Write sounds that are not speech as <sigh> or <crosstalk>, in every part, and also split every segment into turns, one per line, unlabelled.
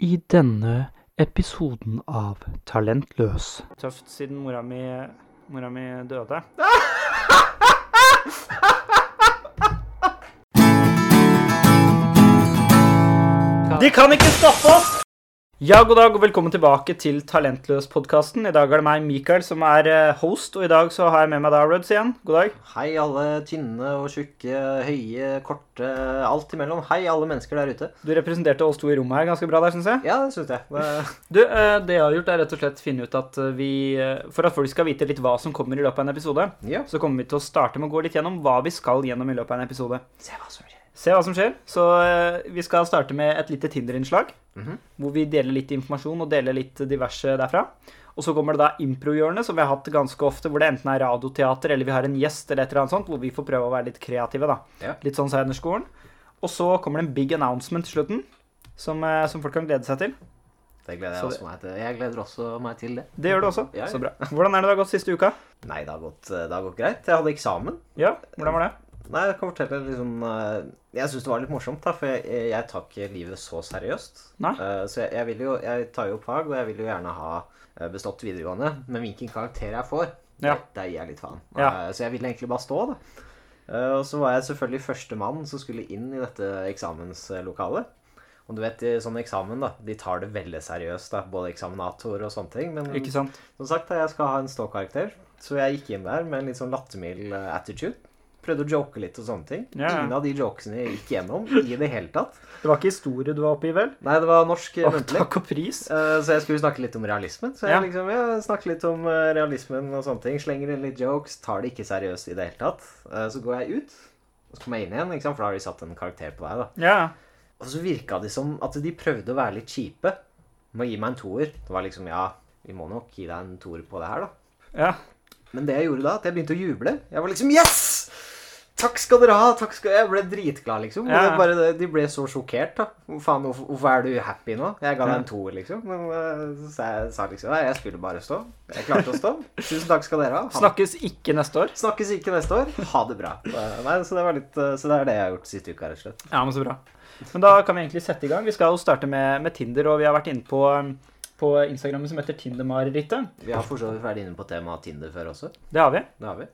I denne episoden av Talentløs
tøft siden mora mi, mora mi døde. De kan ikke stoppe oss! Ja, god dag og velkommen tilbake til Talentløs-podkasten. I dag er det meg, Mikael, som er eh, host, og i dag så har jeg med meg da, Ruds, igjen. God dag.
Hei, alle tynne og tjukke, høye, korte, alt imellom. Hei, alle mennesker der ute.
Du representerte oss to i rommet her ganske bra der, syns jeg.
Ja, det syns jeg. <laughs>
Du,
Det,
eh, det jeg har gjort, er rett og slett finne ut at eh, vi eh, For at folk skal vite litt hva som kommer i løpet av en episode,
ja.
så kommer vi til å starte med å gå litt gjennom hva vi skal gjennom i løpet av en episode.
Se hva som skjer.
Se hva som skjer. Så eh, vi skal starte med et lite Tinder-innslag.
Mhm.
Hvor vi deler litt informasjon og deler litt diverse derfra. Og så kommer det da improhjørnet, som vi har hatt ganske ofte. Hvor det enten er radioteater eller vi har en gjest eller et eller annet sånt. Hvor vi får prøve å være litt kreative, da.
Ja.
Litt sånn Seinerskolen. Og så kommer det en big announcement til slutten. Som, eh, som folk kan glede seg til.
Det gleder jeg
Så det-
også meg til. Jeg gleder også meg til det.
Det gjør du også.
Ja, ja.
Så bra. Hvordan er det det har gått siste uka?
Nei, det har gått, det har gått greit. Jeg hadde eksamen.
Ja, hvordan var det?
Nei, jeg kan fortelle litt sånn eh, Jeg syns det var litt morsomt, da, for jeg, jeg tar ikke livet så seriøst.
Nei.
Eh, Så jeg, jeg vil jo Jeg tar jo fag, og jeg vil jo gjerne ha eh, bestått videregående. Men hvilken karakter jeg får,
Ja.
det- det gir jeg litt faen.
Ja.
Eh, Så jeg ville egentlig bare stå, da. Eh, Og så var jeg selvfølgelig førstemann som skulle inn i dette eksamenslokalet. Og du vet, i sånn eksamen, da, de tar det veldig seriøst, da, både eksaminator og sånne ting. Men
Ikke sant?
som sagt, jeg skal ha en ståkarakter, så jeg gikk inn der med en litt sånn lattermild eh, attitude. Prøvde å joke litt og sånne ting.
Ja, ja.
Ingen av de jokesene jeg gikk gjennom i det hele tatt.
Det var ikke historie du var oppe i, vel?
Nei, det var norsk eh,
Å,
muntlig.
takk og pris.
Eh, Så jeg skulle snakke litt om realismen. Så jeg,
Ja.
liksom, jeg snakker litt om eh, realismen og sånne ting. Slenger inn litt jokes, tar det ikke seriøst i det hele tatt. Eh, Så går jeg ut, og så kommer jeg inn igjen, ikke sant? for da har de satt en karakter på deg. da.
Ja.
Og så virka det som at de prøvde å være litt kjipe med å gi meg en toer. Det var liksom ja, vi må nok gi deg en toer på det her, da.
Ja.
Men det jeg gjorde da, at jeg begynte å juble. Jeg var liksom Yes! Takk skal dere ha! takk skal... Jeg ble dritglad, liksom. Og
Ja.
det Bare, de ble så sjokkert. da. Hvor faen, hvorfor, hvorfor er du happy nå? Jeg ga deg en toer, liksom. Men eh, så sa jeg sa liksom Nei, jeg skulle bare stå. Jeg klarte å stå.
<laughs>
Tusen takk skal dere ha. ha.
Snakkes ikke neste år.
Snakkes ikke neste år. Ha det bra. Eh, Nei, så det var litt eh, Så det er det jeg har gjort siste uka, rett og slett.
Ja, men så bra. Men da kan vi egentlig sette i gang. Vi skal jo starte med, med Tinder, og vi har vært inne på, på Instagrammen som heter Tinder-marerittet.
Vi har for så vidt vært inne på temaet Tinder før også.
Det har vi.
Det har vi.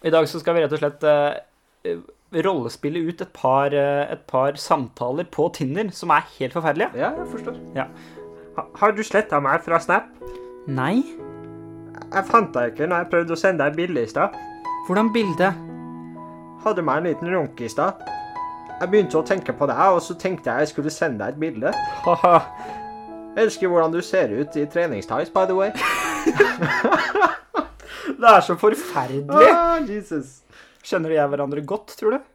Og I dag så skal vi rett og slett eh, rollespille ut et par, eh, et par samtaler på Tinder som er helt forferdelige.
Ja, jeg forstår.
Har du sletta meg fra Snap? Nei.
Jeg fant deg ikke når jeg prøvde å sende deg bilde i stad.
Hvordan bilde?
Hadde meg en liten runk i stad. Jeg begynte å tenke på deg, og så tenkte jeg jeg skulle sende deg et bilde.
Haha.
Jeg elsker hvordan du ser ut i treningstights, by the way.
Det er så forferdelig.
Ah, Jesus.
Kjenner de hverandre godt, tror du?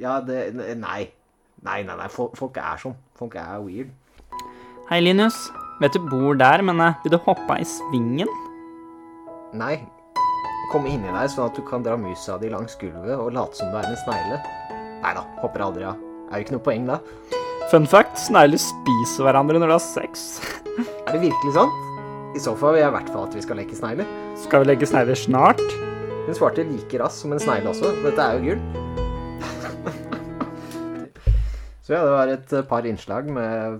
Ja, det Nei. Nei, nei, nei. fol- Folk er sånn. Folk er weird.
Hei, Linus. Vet du bor der, men eh, vil du hoppe i svingen?
Nei. Kom inni deg, sånn at du kan dra musa di langs gulvet og late som du er en snegle. Nei da, hopper aldri av. Er jo ikke noe poeng, da.
Fun fact, snegler spiser hverandre når de har sex.
Er det virkelig sant? I så fall vil jeg i hvert fall at vi skal leke snegler.
Skal vi legge snegler snart?
Hun svarte like raskt som en snegle også. Dette er jo gull. Så ja, det var et eh, par innslag med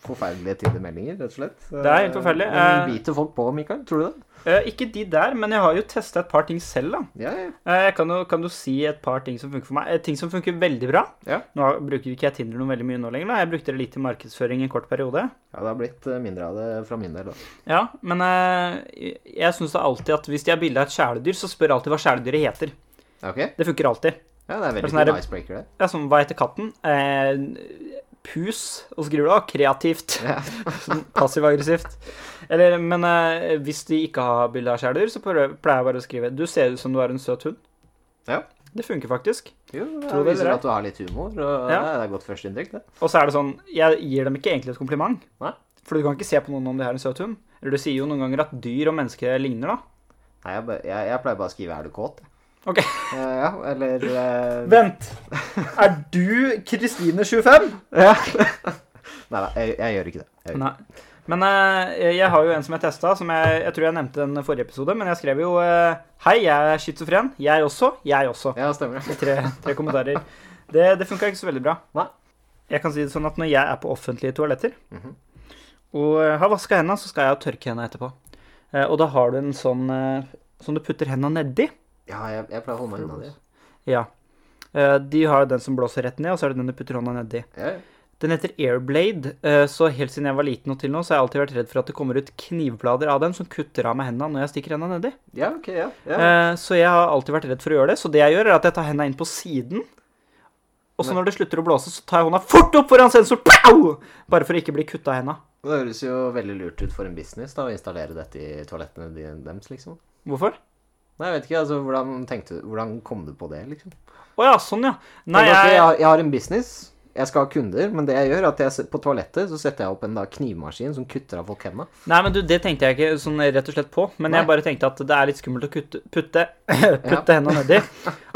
forferdelige Tinder-meldinger, rett og slett.
Det er helt forferdelig.
Eh, Men
Eh,
biter folk på, Mikael? Tror du det?
Eh, ikke de der, men jeg har jo testa et par ting selv, da.
Ja, ja.
Eh, jeg kan, jo, kan du si et par ting som funker for meg? Eh, ting som funker veldig bra.
Ja.
Nå har- bruker ikke jeg Tinder noe veldig mye nå lenger. Da. Jeg brukte det litt i markedsføring i en kort periode.
ja, det har blitt eh, mindre av det fra min del, da.
Ja, men eh, jeg syns alltid at hvis de har bilde av et kjæledyr, så spør jeg alltid hva kjæledyret heter.
Ok?
Det funker alltid.
Ja, det er
Hvordan
veldig
er sånn
fin
det-
icebreaker, det.
Det er som hva heter katten? Eh, pus. Og så skriver du da kreativt.
Ja.
<laughs> Sånn Passiv-aggressivt. Eller, men eh, hvis de ikke har bilde av kjæledyr, så prøver- pleier jeg bare å skrive Du ser ut som du er en søt hund.
Ja.
Det funker faktisk.
Jo,
Tror
det
du
viser
det?
at du har litt humor,
Ja.
og ja. det er godt førsteinntrykk, det.
Og så er det sånn Jeg gir dem ikke egentlig et kompliment.
Nei.
For du kan ikke se på noen om de har en søt hund. Eller du sier jo noen ganger at dyr og mennesker ligner, da.
Nei, jeg, bare- jeg, jeg pleier bare å skrive 'er du kåt'? jeg.
Ok.
Eh, ja, eller eh,
Vent. Er du Kristine25?
Ja. Nei da, jeg, jeg gjør ikke det. Jeg gjør ikke det.
Nei. Men eh, jeg har jo en som jeg testa, som jeg, jeg tror jeg nevnte den forrige episode. Men jeg skrev jo eh, Hei, jeg er schizofren. Jeg også. Jeg også.
Ja, stemmer det.
I tre, tre kommentarer. Det, det funka ikke så veldig bra.
Nei.
Jeg kan si det sånn at når jeg er på offentlige toaletter,
Mhm.
og eh, har vaska hendene, så skal jeg tørke hendene etterpå. Eh, Og da har du en sånn eh, som du putter hendene nedi.
Ja, jeg, jeg pleier å holde meg unna det.
Ja. Eh, De har den som blåser rett ned, og så er det den du putter hånda nedi.
Ja, ja.
Den heter Airblade, eh, så helt siden jeg var liten og til nå, så har jeg alltid vært redd for at det kommer ut knivblader av den som kutter av meg hendene når jeg stikker hendene nedi.
ja, ok, ja. ja.
Eh, Så jeg har alltid vært redd for å gjøre det. Så det jeg gjør, er at jeg tar hendene inn på siden. Og så
Men-
når det slutter å blåse, så tar jeg hånda fort opp foran sensor. Pow! Bare for å ikke bli kutta av henda.
Det høres jo veldig lurt ut for en business da, å installere dette i toalettene de- deres, liksom.
Hvorfor?
Nei, jeg vet ikke, altså, hvordan, tenkte, du- hvordan kom du på det, liksom?
Å ja, sånn, ja. Nei,
jeg, jeg,
jeg
har- jeg har en business, jeg skal ha kunder, men det jeg gjør er at jeg, set- på toalettet så setter jeg opp en da, knivmaskin som kutter av folk hendene.
Nei, men du, det tenkte jeg ikke sånn rett og slett på. Men
Nei.
jeg bare tenkte at det er litt skummelt å kutte, putte, <laughs> putte henda nedi.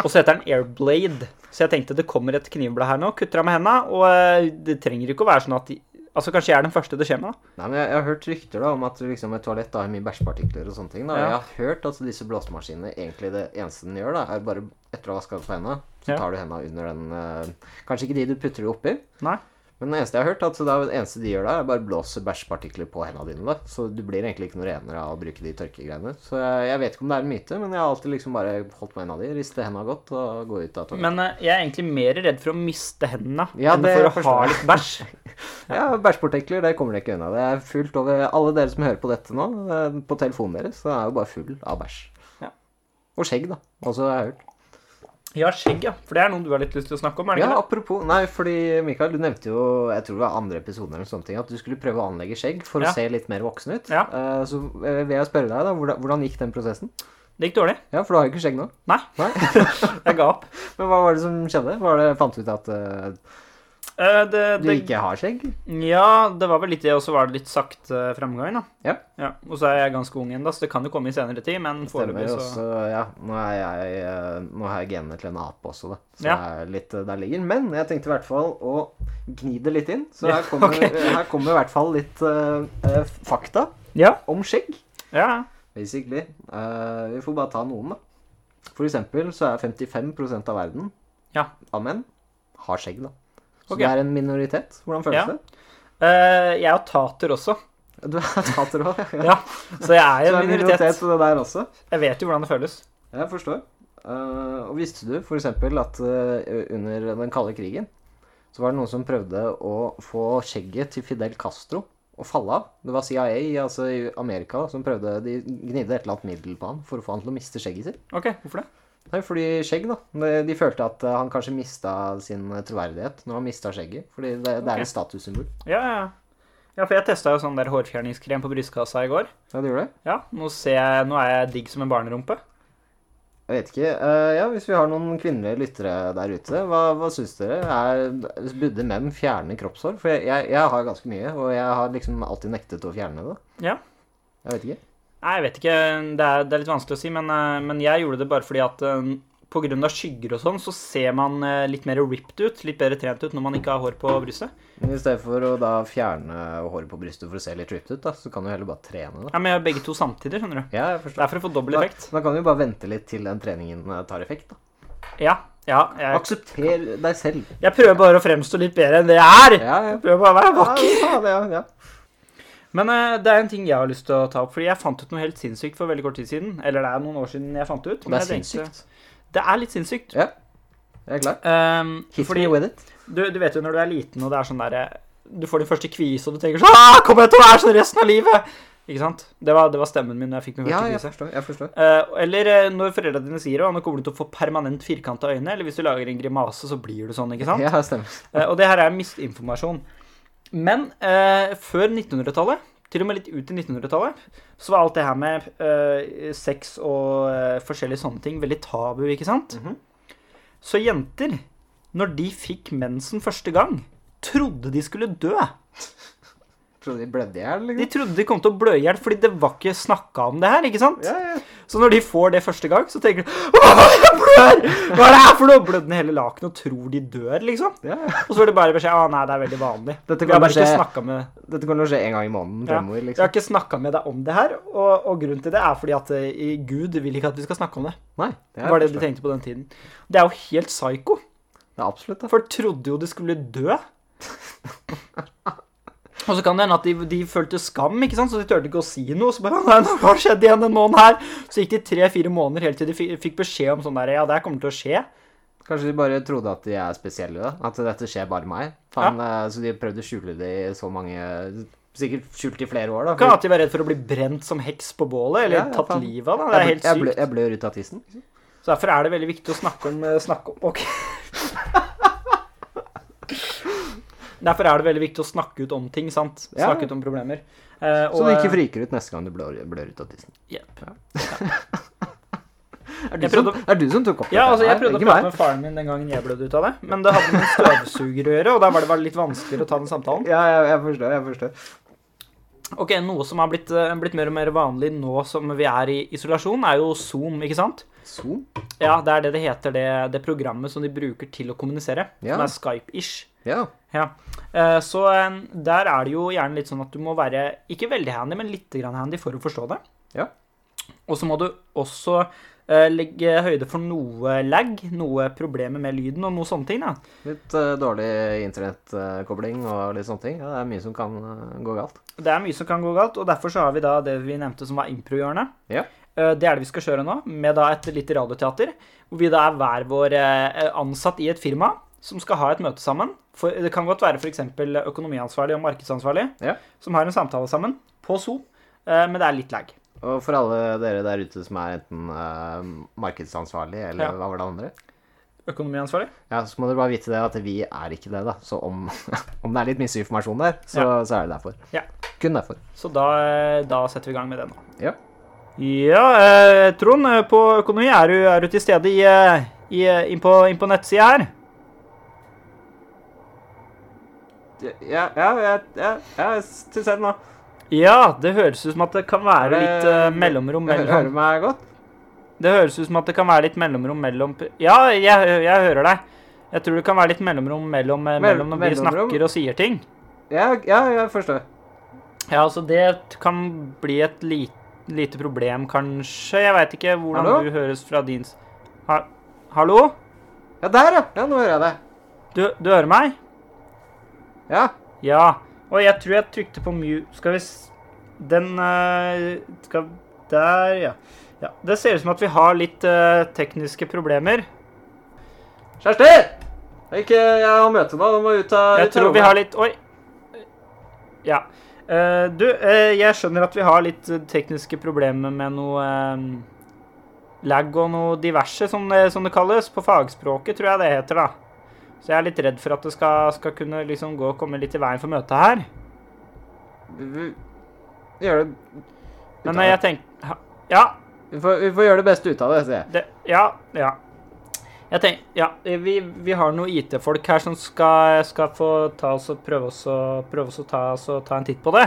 Og så heter den airblade. Så jeg tenkte det kommer et knivblad her nå. Kutter av med henda. Og eh, det trenger ikke å være sånn at de- Altså, kanskje jeg er den første det skjer med, da.
Nei, men jeg, jeg har hørt rykter da, om at liksom, et toalett da, har mye bæsjpartikler og sånne ting. Da.
Ja.
Jeg har hørt at disse blåsemaskinene egentlig det eneste den gjør, da, er bare etter å ha vaska på henda, så
Ja.
tar du henda under den eh, Kanskje ikke de du putter det oppi,
Nei.
men det eneste jeg har hørt, at det, er det eneste de gjør da, er bare blåser bæsjpartikler på henda dine. da. Så du blir egentlig ikke noe renere av å bruke de tørkegreiene. Så jeg, jeg vet ikke om det er en myte, men jeg har alltid liksom bare holdt meg unna de, riste henda godt og gå ut av toalettet.
Men eh, jeg er egentlig mer redd for å miste hendene
Ja,
enn
det
for å ha
forstår jeg.
litt bæsj.
Ja, bæsjpartikler, det kommer dere ikke unna. Det er fullt over Alle dere som hører på dette nå, eh, på telefonen deres, så er jo bare full av bæsj.
Ja.
Og skjegg, da. Også har jeg hørt.
Ja, skjegg, ja. For det er noe du har litt lyst til å snakke om? er det
Ja,
ikke det?
apropos Nei, fordi Mikael, du nevnte jo jeg tror det var andre episoden eller sånne ting, at du skulle prøve å anlegge skjegg for
Ja.
å se litt mer voksen ut.
Ja.
Eh, Så eh, vil jeg spørre deg, da. Hvordan, hvordan gikk den prosessen?
Det gikk dårlig?
Ja, for du har jo ikke skjegg nå.
Nei,
<laughs> Nei.
jeg ga opp.
Men hva var det som skjedde? Var det, fant du ut at eh,
Eh, det,
du
det,
ikke har skjegg?
ja, det var vel litt det, og så var det litt sakte fremgang, da.
Ja.
Og så er jeg ganske ung ennå, så det kan jo komme i senere tid, men
Stemmer
foreløpig
jo
så
også, ja. Nå, er jeg, eh, nå har jeg genene til en ape også, da. Så
Ja.
jeg er litt eh, der ligger. Men jeg tenkte i hvert fall å gni det litt inn. Så
Ja,
her kommer,
ok.
<laughs> her kommer i hvert fall litt eh, eh, fakta
Ja.
om skjegg.
ja.
Basically. Eh, vi får bare ta noen, da. For eksempel så er 55 av verden
Ja.
av menn har skjegg, da. Så
Ok.
det er en minoritet. Hvordan føles
Ja.
det?
Eh, jeg er jo tater også,
Du er tater òg, ja.
Ja, så jeg er
Så <laughs> det
jo
er
en minoritet.
på det der også.
Jeg vet jo hvordan det føles.
Jeg forstår. Eh, og visste du f.eks. at eh, under den kalde krigen så var det noen som prøvde å få skjegget til Fidel Castro å falle av? Det var CIA altså i Amerika da, som prøvde De gnidde et eller annet middel på han for å få han til å miste skjegget sitt.
OK, hvorfor det?
Nei, fordi skjegg, da. De, de følte at eh, han kanskje mista sin troverdighet når han mista skjegget. Fordi det, det
Ok.
er et statussymbol.
Ja, ja, ja. Ja, for jeg testa jo sånn der hårfjerningskrem på brystkassa i går.
Ja, det gjorde det.
Ja, nå, ser jeg, nå er jeg digg som en barnerumpe.
Jeg vet ikke. eh, ja, Hvis vi har noen kvinnelige lyttere der ute, hva, hva syns dere? Er, burde menn fjerne kroppshår? For jeg, jeg, jeg har ganske mye, og jeg har liksom alltid nektet å fjerne det.
Ja.
Jeg vet ikke.
Nei, jeg vet ikke. Det er, det er litt vanskelig å si, men, eh, men jeg gjorde det bare fordi at eh, på grunn av skygger og sånn, så ser man eh, litt mer ripped ut, litt bedre trent ut når man ikke har hår på brystet.
Men I stedet for å da fjerne håret på brystet for å se litt ripped ut, da, så kan du heller bare trene det.
Ja, men jeg har begge to samtidig, skjønner du.
Ja, jeg
Det
forstår.
er for å få dobbel
Da,
effekt.
da kan du jo bare vente litt til den treningen eh, tar effekt, da.
Ja. Ja, jeg,
Aksepter deg
<laughs>
selv.
jeg prøver bare å fremstå litt bedre enn det jeg er.
Ja, ja.
Jeg prøver bare å være
Ja,
vakker.
ja, ja, ja.
Men eh, det er en ting jeg har lyst til å ta opp, fordi jeg fant ut noe helt sinnssykt for veldig kort tid siden. Eller det er noen år siden jeg fant det ut.
Det er
jeg tenkte-
sinnssykt.
Det er litt sinnssykt.
Ja. Jeg er klar.
Ehm,
Hit
fordi
me with it.
du, du vet jo når du er liten, og det er sånn derre Du får din første kvise, og du tenker sånn «Ah, Kommer jeg til å være sånn resten av livet? Ikke sant? Det var, det var stemmen min når jeg fikk min første
Ja, jeg
kvise.
forstår. Jeg forstår.
Eh, eller eh, når foreldrene dine sier det, nå kommer du til å få permanent firkanta øyne. Eller hvis du lager en grimase, så blir du sånn, ikke sant?
Ja, stemmer.
Eh, Og det her er misinformasjon. Men eh, før 1900-tallet, til og med litt ut i 1900-tallet, så var alt det her med eh, sex og eh, forskjellige sånne ting veldig tabu, ikke sant?
Mhm.
Så jenter, når de fikk mensen første gang, trodde de skulle dø.
Trodde de blødde i hjel,
De
liksom.
trodde de kom til å blø i hjel, fordi det var ikke snakka om det her, ikke sant?
Ja, ja.
Så når de får det første gang, så tenker de Åh, jeg blør! Hva er det her for noe? Blødde ned hele lakenet og tror de dør, liksom.
ja, ja.
Og så får de bare beskjed Å nei, det er veldig vanlig.
Dette
Vi
kan
har bare
skje-
ikke snakket med
Dette kan jo skje en gang i måneden
Ja.
fremover,
Jeg har
liksom.
ikke snakka med deg om det her, og, og grunnen til det er fordi at eh, i Gud vil ikke at vi skal snakke om det.
Nei,
Det var det de tenkte på den tiden. Det er jo helt psyko.
Det er absolutt det. <laughs>
For trodde jo de skulle dø. Og så kan det hende at de, de følte skam, ikke sant? så de turte ikke å si noe. Så bare, nei, nå har det skjedd igjen med noen her. Så gikk det tre-fire måneder helt til de fi- fikk beskjed om sånn der, ja, det her kommer til å skje.
Kanskje de bare trodde at de er spesielle, da? At dette skjer bare meg? Faen, eh, Så de prøvde å skjule det i så mange Sikkert skjult i flere år, da.
Kan at de var redd for å bli brent som heks på bålet, eller
Ja, ja,
tatt
faen.
livet av. da. Det
jeg,
er
ble-
helt
jeg,
sykt.
ble- jeg blør ut av tissen. liksom.
Så derfor er det veldig viktig å snakke om, eh, snakke om Ok. <laughs> Derfor er det veldig viktig å snakke ut om ting, sant?
Ja.
Snakke ut om problemer. Eh,
Så du ikke friker ut neste gang du blør, blør ut av tissen.
Jepp.
Er du,
Jeg prøvde-
som, er du som tok opp
Ja,
dette
altså, jeg
her,
prøvde å
ikke
prate
meg.
med faren min den gangen jeg blødde ut av det, men det hadde med en støvsuger å gjøre, og der var det bare litt vanskeligere å ta den samtalen.
Ja, jeg, jeg forstår. jeg forstår.
Ok, Noe som har blitt, eh, blitt mer og mer vanlig nå som vi er i isolasjon, er jo Zoom, ikke sant?
Zoom?
Ja, det er det det heter, det, det programmet som de bruker til å kommunisere,
Ja.
som er Skype-ish.
Ja.
Ja. Eh, Så eh, der er det jo gjerne litt sånn at du må være ikke veldig handy, men litt grann handy for å forstå det.
Ja.
Og så må du også eh, legge høyde for noe lag, noe problemer med lyden og noe sånne ting. da.
Litt eh, dårlig internettkobling og litt sånne ting. Ja, det er mye som kan eh, gå galt.
Det er mye som kan gå galt, og derfor så har vi da det vi nevnte som var improhjørnet.
Ja.
Eh, Det er det vi skal kjøre nå, med da et lite radioteater, hvor vi da er hver vår eh, ansatt i et firma som skal ha et møte sammen. For, det kan godt være f.eks. økonomiansvarlig og markedsansvarlig
Ja.
som har en samtale sammen på Zoom, eh, men det er litt lag.
Og for alle dere der ute som er enten eh, markedsansvarlig eller
Ja.
hva var det andre,
Økonomiansvarlig?
ja, så må dere bare vite det at vi er ikke det, da. Så om, <laughs> om det er litt misinformasjon der, så, så er det derfor.
Ja.
Kun derfor.
Så da, da setter vi i gang med det nå.
Ja.
Ja, eh, Trond, eh, på økonomi er du, er du til stede i, eh, i, eh, inn på, inn på nettsida her.
Ja, ja, ja, jeg er til <laughs> stede nå.
Ja, det høres ut som at det kan være litt eh, mellomrom mellom
meg godt?
Det høres ut som at det kan være litt mellomrom mellom Ja, jeg, jeg hører deg. Jeg tror det kan være litt mellomrom mellom, eh,
Mell-
mellom når vi
mellomrom?
snakker og sier ting.
Ja, ja, jeg forstår.
Ja, altså det kan bli et li, lite problem, kanskje. Jeg veit ikke hvordan
Hallo?
du høres fra din s- ha, Hallo?
Ja, der, ja. ja! Nå hører jeg deg.
Du, du hører meg?
Ja.
Ja. Og jeg tror jeg trykte på mute Skal vi s... Den eh, skal Der, ja. ja. Det ser ut som at vi har litt eh, tekniske problemer.
Kjersti! Jeg, ikke, jeg har møte nå. Du må ut av
Jeg
ut av
tror vi
rommet.
har litt Oi. Ja. Eh, du, eh, jeg skjønner at vi har litt eh, tekniske problemer med noe eh, lag og noe diverse, som det, som det kalles. På fagspråket, tror jeg det heter, da. Så jeg er litt redd for at det skal, skal kunne liksom gå og komme litt i veien for møtet her.
Vi- vi- vi gjør det
Men eh, jeg tenker ha- Ja,
Vi får, vi får gjøre det beste ut av det, sier jeg.
det Ja, ja. Jeg tenker, ja, eh, vi, vi har noen IT-folk her som skal, skal få ta oss og prøve oss å, prøve oss å ta, oss og ta en titt på det.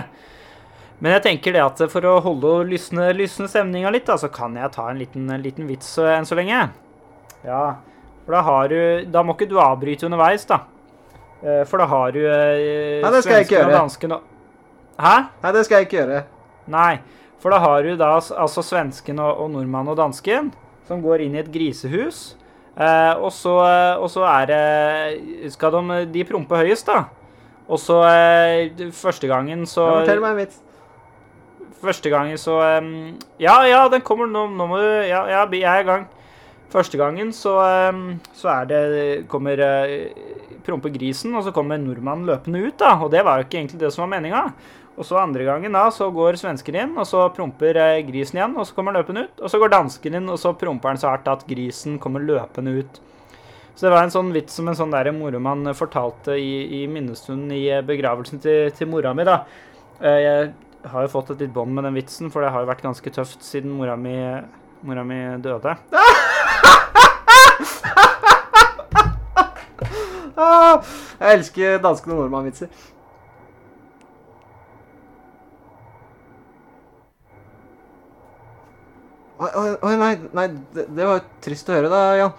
Men jeg tenker det at for å holde og lysne, lysne stemninga litt, da, så kan jeg ta en liten, en liten vits eh, enn så lenge. Ja, for da har du Da må ikke du avbryte underveis, da. Eh, For da har du eh,
Nei, det skal jeg ikke
svensken og
gjøre.
dansken og- Hæ?
Nei, det skal jeg ikke gjøre.
Nei, for da har du da s- altså svensken og, og nordmannen og dansken som går inn i et grisehus. Eh, og, så, eh, og så er det Skal de, de prompe høyest, da? Og så eh, Første gangen så
Ja, Fortell meg en vits.
Første gangen så em, Ja, ja, den kommer nå. Nå må du Ja, ja jeg er i gang. Første gangen så, em, så er det Kommer eh, prompe grisen, og så kommer nordmannen løpende ut, da. Og det var jo ikke egentlig det som var meninga. Og så andre gangen da, så går svensken inn, og så promper eh, grisen igjen, og så kommer løpende ut. Og så går dansken inn, og så promper han så hardt at grisen kommer løpende ut. Så det var en sånn vits som en sånn der moromann fortalte i, i minnestunden i eh, begravelsen til, til mora mi, da. Eh, Jeg har jo fått et litt bånd med den vitsen, for det har jo vært ganske tøft siden mora mi, mora mi døde.
Ah, jeg elsker danske og nordmann-vitser. Oi, oi, oi, nei, nei det, det var trist å høre, da, Jan.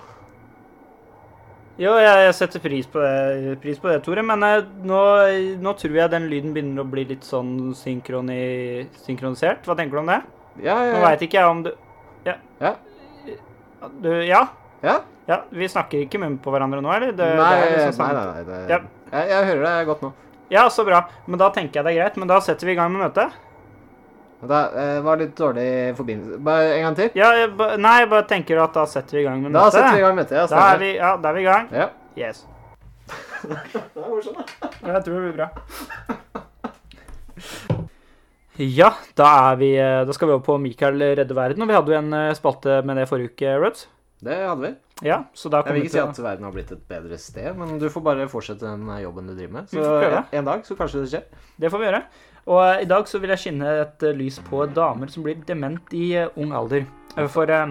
Jo, jeg, jeg setter pris på det, pris på det Tore, men eh, nå, nå tror jeg den lyden begynner å bli litt sånn synkroni, synkronisert. Hva tenker du om det?
Ja,
Nå
ja,
veit ikke jeg om du Ja.
Ja.
Du, ja?
ja.
ja? Vi snakker ikke munn på hverandre nå, eller?
Nei,
Det- det
nei,
er
nei,
liksom sånn-
nei, nei det,
Ja.
jeg, jeg hører deg godt nå.
Ja, så bra. Men da tenker jeg det er greit. Men da setter vi i gang med møtet.
Men Da eh, var det litt dårlig forbindelse. Bare en gang til.
Ja, jeg ba- nei, jeg bare tenker at da setter vi i gang med
Da
møtet.
setter vi i gang møtet.
Da
Ja,
er
stemmer.
vi, ja, da er vi i gang.
Ja.
Yes.
Det er morsomt, da.
Jeg tror det blir bra. <laughs> Ja, da, er vi, eh, da skal vi over på Mikael redde verden. Og vi hadde jo en eh, spalte med det forrige uke, Ruds.
Det hadde vi.
Ja, så da
Jeg
kommer
vil
vi
ikke si
til å-
at verden har blitt et bedre sted, men du får bare fortsette den eh, jobben du driver med.
Vi
Så eh,
får prøve.
en- en dag, så kanskje det skjer.
Det får vi gjøre. Og eh, i dag så vil jeg skinne et eh, lys på damer som blir dement i eh, ung alder. Eh, For eh,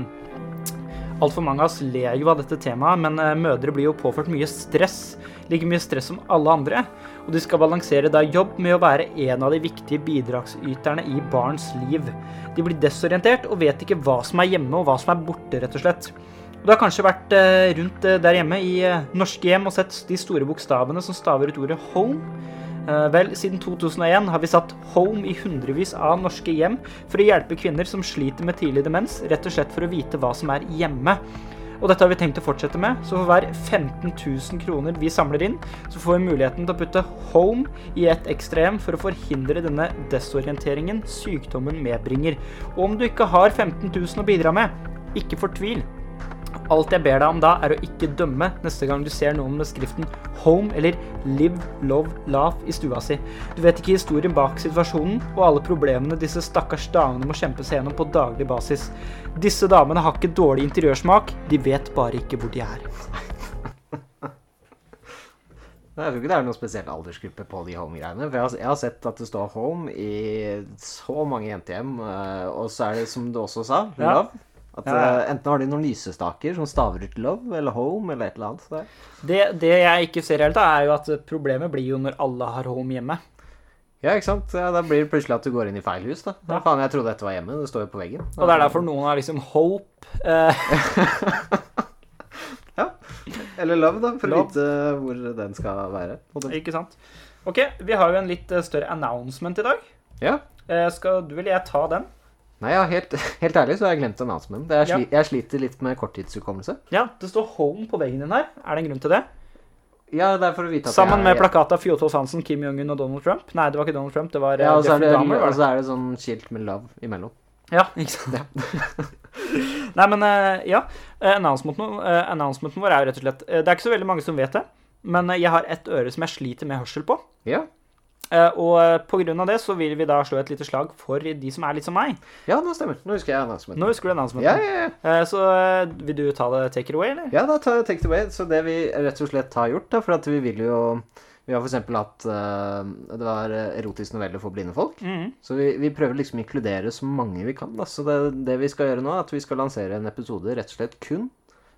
altfor mange av oss ler jo av dette temaet, men eh, mødre blir jo påført mye stress. Like mye stress som alle andre. Og de skal balansere da jobb med å være en av de viktige bidragsyterne i barns liv. De blir desorientert og vet ikke hva som er hjemme og hva som er borte, rett og slett. Og Du har kanskje vært eh, rundt eh, der hjemme i eh, norske hjem og sett de store bokstavene som staver ut ordet 'home'. Eh, Vel, siden 2001 har vi satt Home i hundrevis av norske hjem for å hjelpe kvinner som sliter med tidlig demens, rett og slett for å vite hva som er hjemme. Og dette har vi tenkt å fortsette med, så for hver 15 000 kroner vi samler inn, så får vi muligheten til å putte Home i et ekstra hjem for å forhindre denne desorienteringen sykdommen medbringer. Og om du ikke har 15 000 å bidra med, ikke fortvil. Alt jeg ber deg om da, er å ikke dømme neste gang du ser noen med skriften 'home' eller 'live, love, laugh' i stua si. Du vet ikke historien bak situasjonen og alle problemene disse stakkars damene må kjempe seg gjennom på daglig basis. Disse damene har ikke dårlig interiørsmak, de vet bare ikke hvor de er.
Nei, Jeg tror ikke det er noen spesiell aldersgruppe på de home-greiene. For jeg har, jeg har sett at det står home i så mange jentehjem. eh, Og så er det som du også sa,
Ja.
love. At
Ja, ja.
eh, Enten har de noen lysestaker som staver ut love eller home eller et eller annet. Så det-
Det, det jeg ikke ser helt, da, er jo at problemet blir jo når alle har home hjemme.
Ja, ikke sant? Ja, da blir det plutselig at du går inn i feil hus, da.
Ja.
Ja. Faen, jeg trodde dette var hjemme. Det står jo på veggen.
Og det er derfor noen har liksom hope. eh, <laughs>
Eller love, da, for å
Love.
vite hvor den skal være. på en måte.
ikke sant? Ok, vi har jo en litt eh, større announcement i dag.
Ja.
Eh, skal du eller jeg ta den?
Nei, ja, helt, <laughs> helt ærlig så har jeg glemt announcementen. Jeg,
Ja.
sli, jeg sliter litt med korttidshukommelse.
Ja, det står 'Home' på veggen din her. Er det en grunn til det?
Ja, det er for å vite at
Sammen med
jeg,
plakatet av Fjotolf Hansen, Kim Jong-un og Donald Trump. Nei, det var ikke Donald Trump, det var eh,
Ja, og så er det,
Dahmer.
og
Var det?
så er det sånn skilt med love imellom. <laughs>
Ja, ikke sant? <laughs> Nei, men eh, ja. eh, Announcementen, eh, announcementen vår er jo rett og slett eh, Det er ikke så veldig mange som vet det, men eh, jeg har ett øre som jeg sliter med hørsel på.
Ja,
Eh, Og eh, på grunn av det så vil vi da slå et lite slag for de som er litt som meg.
ja nå stemmer. Nå husker jeg announcementen.
Nå husker du announcementen.
Ja, ja, ja.
Eh, Så eh, vil du ta det take it away, eller?
Ja, da tar jeg take it away. Så det vi rett og slett har gjort, da, for at vi vil jo Vi har f.eks. hatt eh, Det var eh, erotisk novelle for blinde folk.
Mhm.
Så vi, vi prøver liksom å inkludere så mange vi kan. Da. Så det, det vi skal gjøre nå, er at vi skal lansere en episode rett og slett kun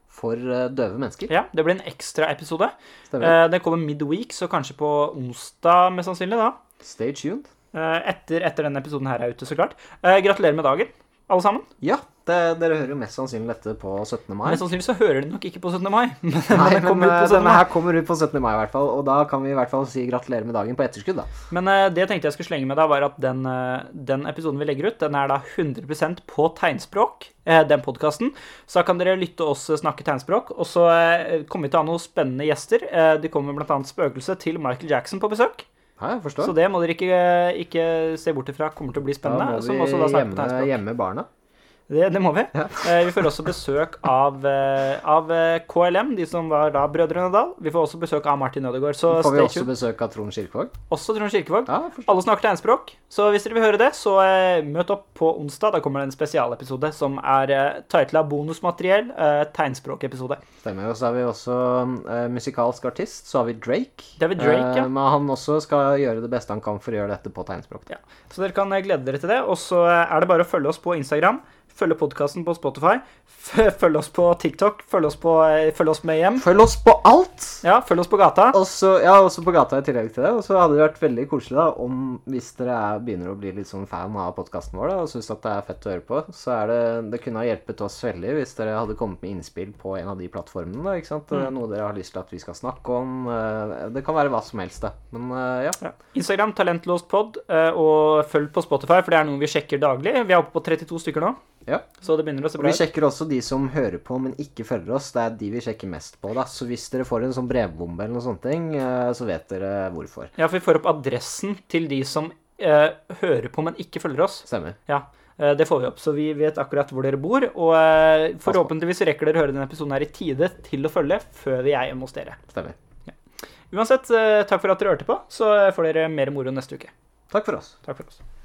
for eh, døve mennesker.
Ja, Det blir en ekstra episode.
Stemmer.
Eh, Den kommer midweek, så kanskje på onsdag, mest sannsynlig. da.
Stay tuned.
Eh, Etter, etter denne episoden her er ute, så klart. Eh, Gratulerer med dagen, alle sammen.
Ja, det, dere hører jo mest sannsynlig dette på 17. mai.
Mest sannsynlig så hører de nok ikke på 17. mai. <laughs> Men
Nei,
den
men
kommer ut på
eh,
17.
denne
mai.
<laughs> her kommer ut på 17. mai i hvert fall, og da kan vi i hvert fall si gratulerer med dagen på etterskudd, da.
Men eh, det jeg tenkte jeg skulle slenge med, da, var at den, eh, den episoden vi legger ut, den er da 100 på tegnspråk, eh, den podkasten. Så da kan dere lytte oss snakke tegnspråk. Og så eh, kommer vi til å ha noen spennende gjester. Eh, Det kommer bl.a. spøkelset til Michael Jackson på besøk.
Ja, jeg forstår.
Så det må dere ikke, ikke se bort ifra kommer til å bli spennende.
da
som
må
også da snakker
vi
på
hjemme,
tegnspråk.
hjemme barna.
Det, det må vi. Eh, vi får også besøk av, eh, av eh, KLM, de som var da Brødrene Dal. Vi får også besøk av Martin Ødegaard. Så
Får vi
stay
også
tuned.
besøk av Trond Kirkevåg?
Også Trond Kirkevåg.
Ja, jeg forstår.
Alle snakker tegnspråk, så hvis dere vil høre det, så eh, møt opp på onsdag. Da kommer det en spesialepisode som er eh, titla 'Bonusmateriell eh, tegnspråkepisode'.
Stemmer. Og så er vi også eh, musikalsk artist. Så har vi Drake.
Det har vi Drake,
Eh,
ja.
Men han også skal gjøre det beste han kan for å gjøre dette på tegnspråk.
Ja. Så dere kan eh, glede dere til det. Og så eh, er det bare å følge oss på Instagram. Følge podkasten på Spotify. f- Følge oss på TikTok. Følge oss, på, eh, følge oss med hjem.
Følg oss på alt!
Ja, følg oss på gata.
Og så- ja, også på gata i tillegg til det. Og så hadde det vært veldig koselig da, om hvis dere er, begynner å bli litt sånn fan av podkasten vår da, og syns at det er fett å høre på, så er det, det kunne ha hjulpet oss veldig hvis dere hadde kommet med innspill på en av de plattformene. da, ikke sant? Noe dere har lyst til at vi skal snakke om. eh, Det kan være hva som helst, da. Men eh, ja.
Ja. Instagram, talentlåstpod, eh, og følg på Spotify, for det er noe vi sjekker daglig. Vi er oppe på 32 stykker nå.
Ja.
Så det begynner å se
Og Vi
bra ut.
sjekker også de som hører på, men ikke følger oss. Det er de vi sjekker mest på. da. Så hvis dere får en sånn brevbombe eller noe sånt, eh, så vet dere hvorfor.
Ja, for vi får opp adressen til de som eh, hører på, men ikke følger oss.
Stemmer.
Ja, eh, det får vi opp, så vi vet akkurat hvor dere bor. Og eh, forhåpentligvis rekker dere å høre denne episoden her i tide til å følge før vi er hjemme hos dere.
Stemmer.
Uansett, eh, takk for at dere hørte på, så eh, får dere mer moro neste uke.
Takk for oss.
Takk for oss.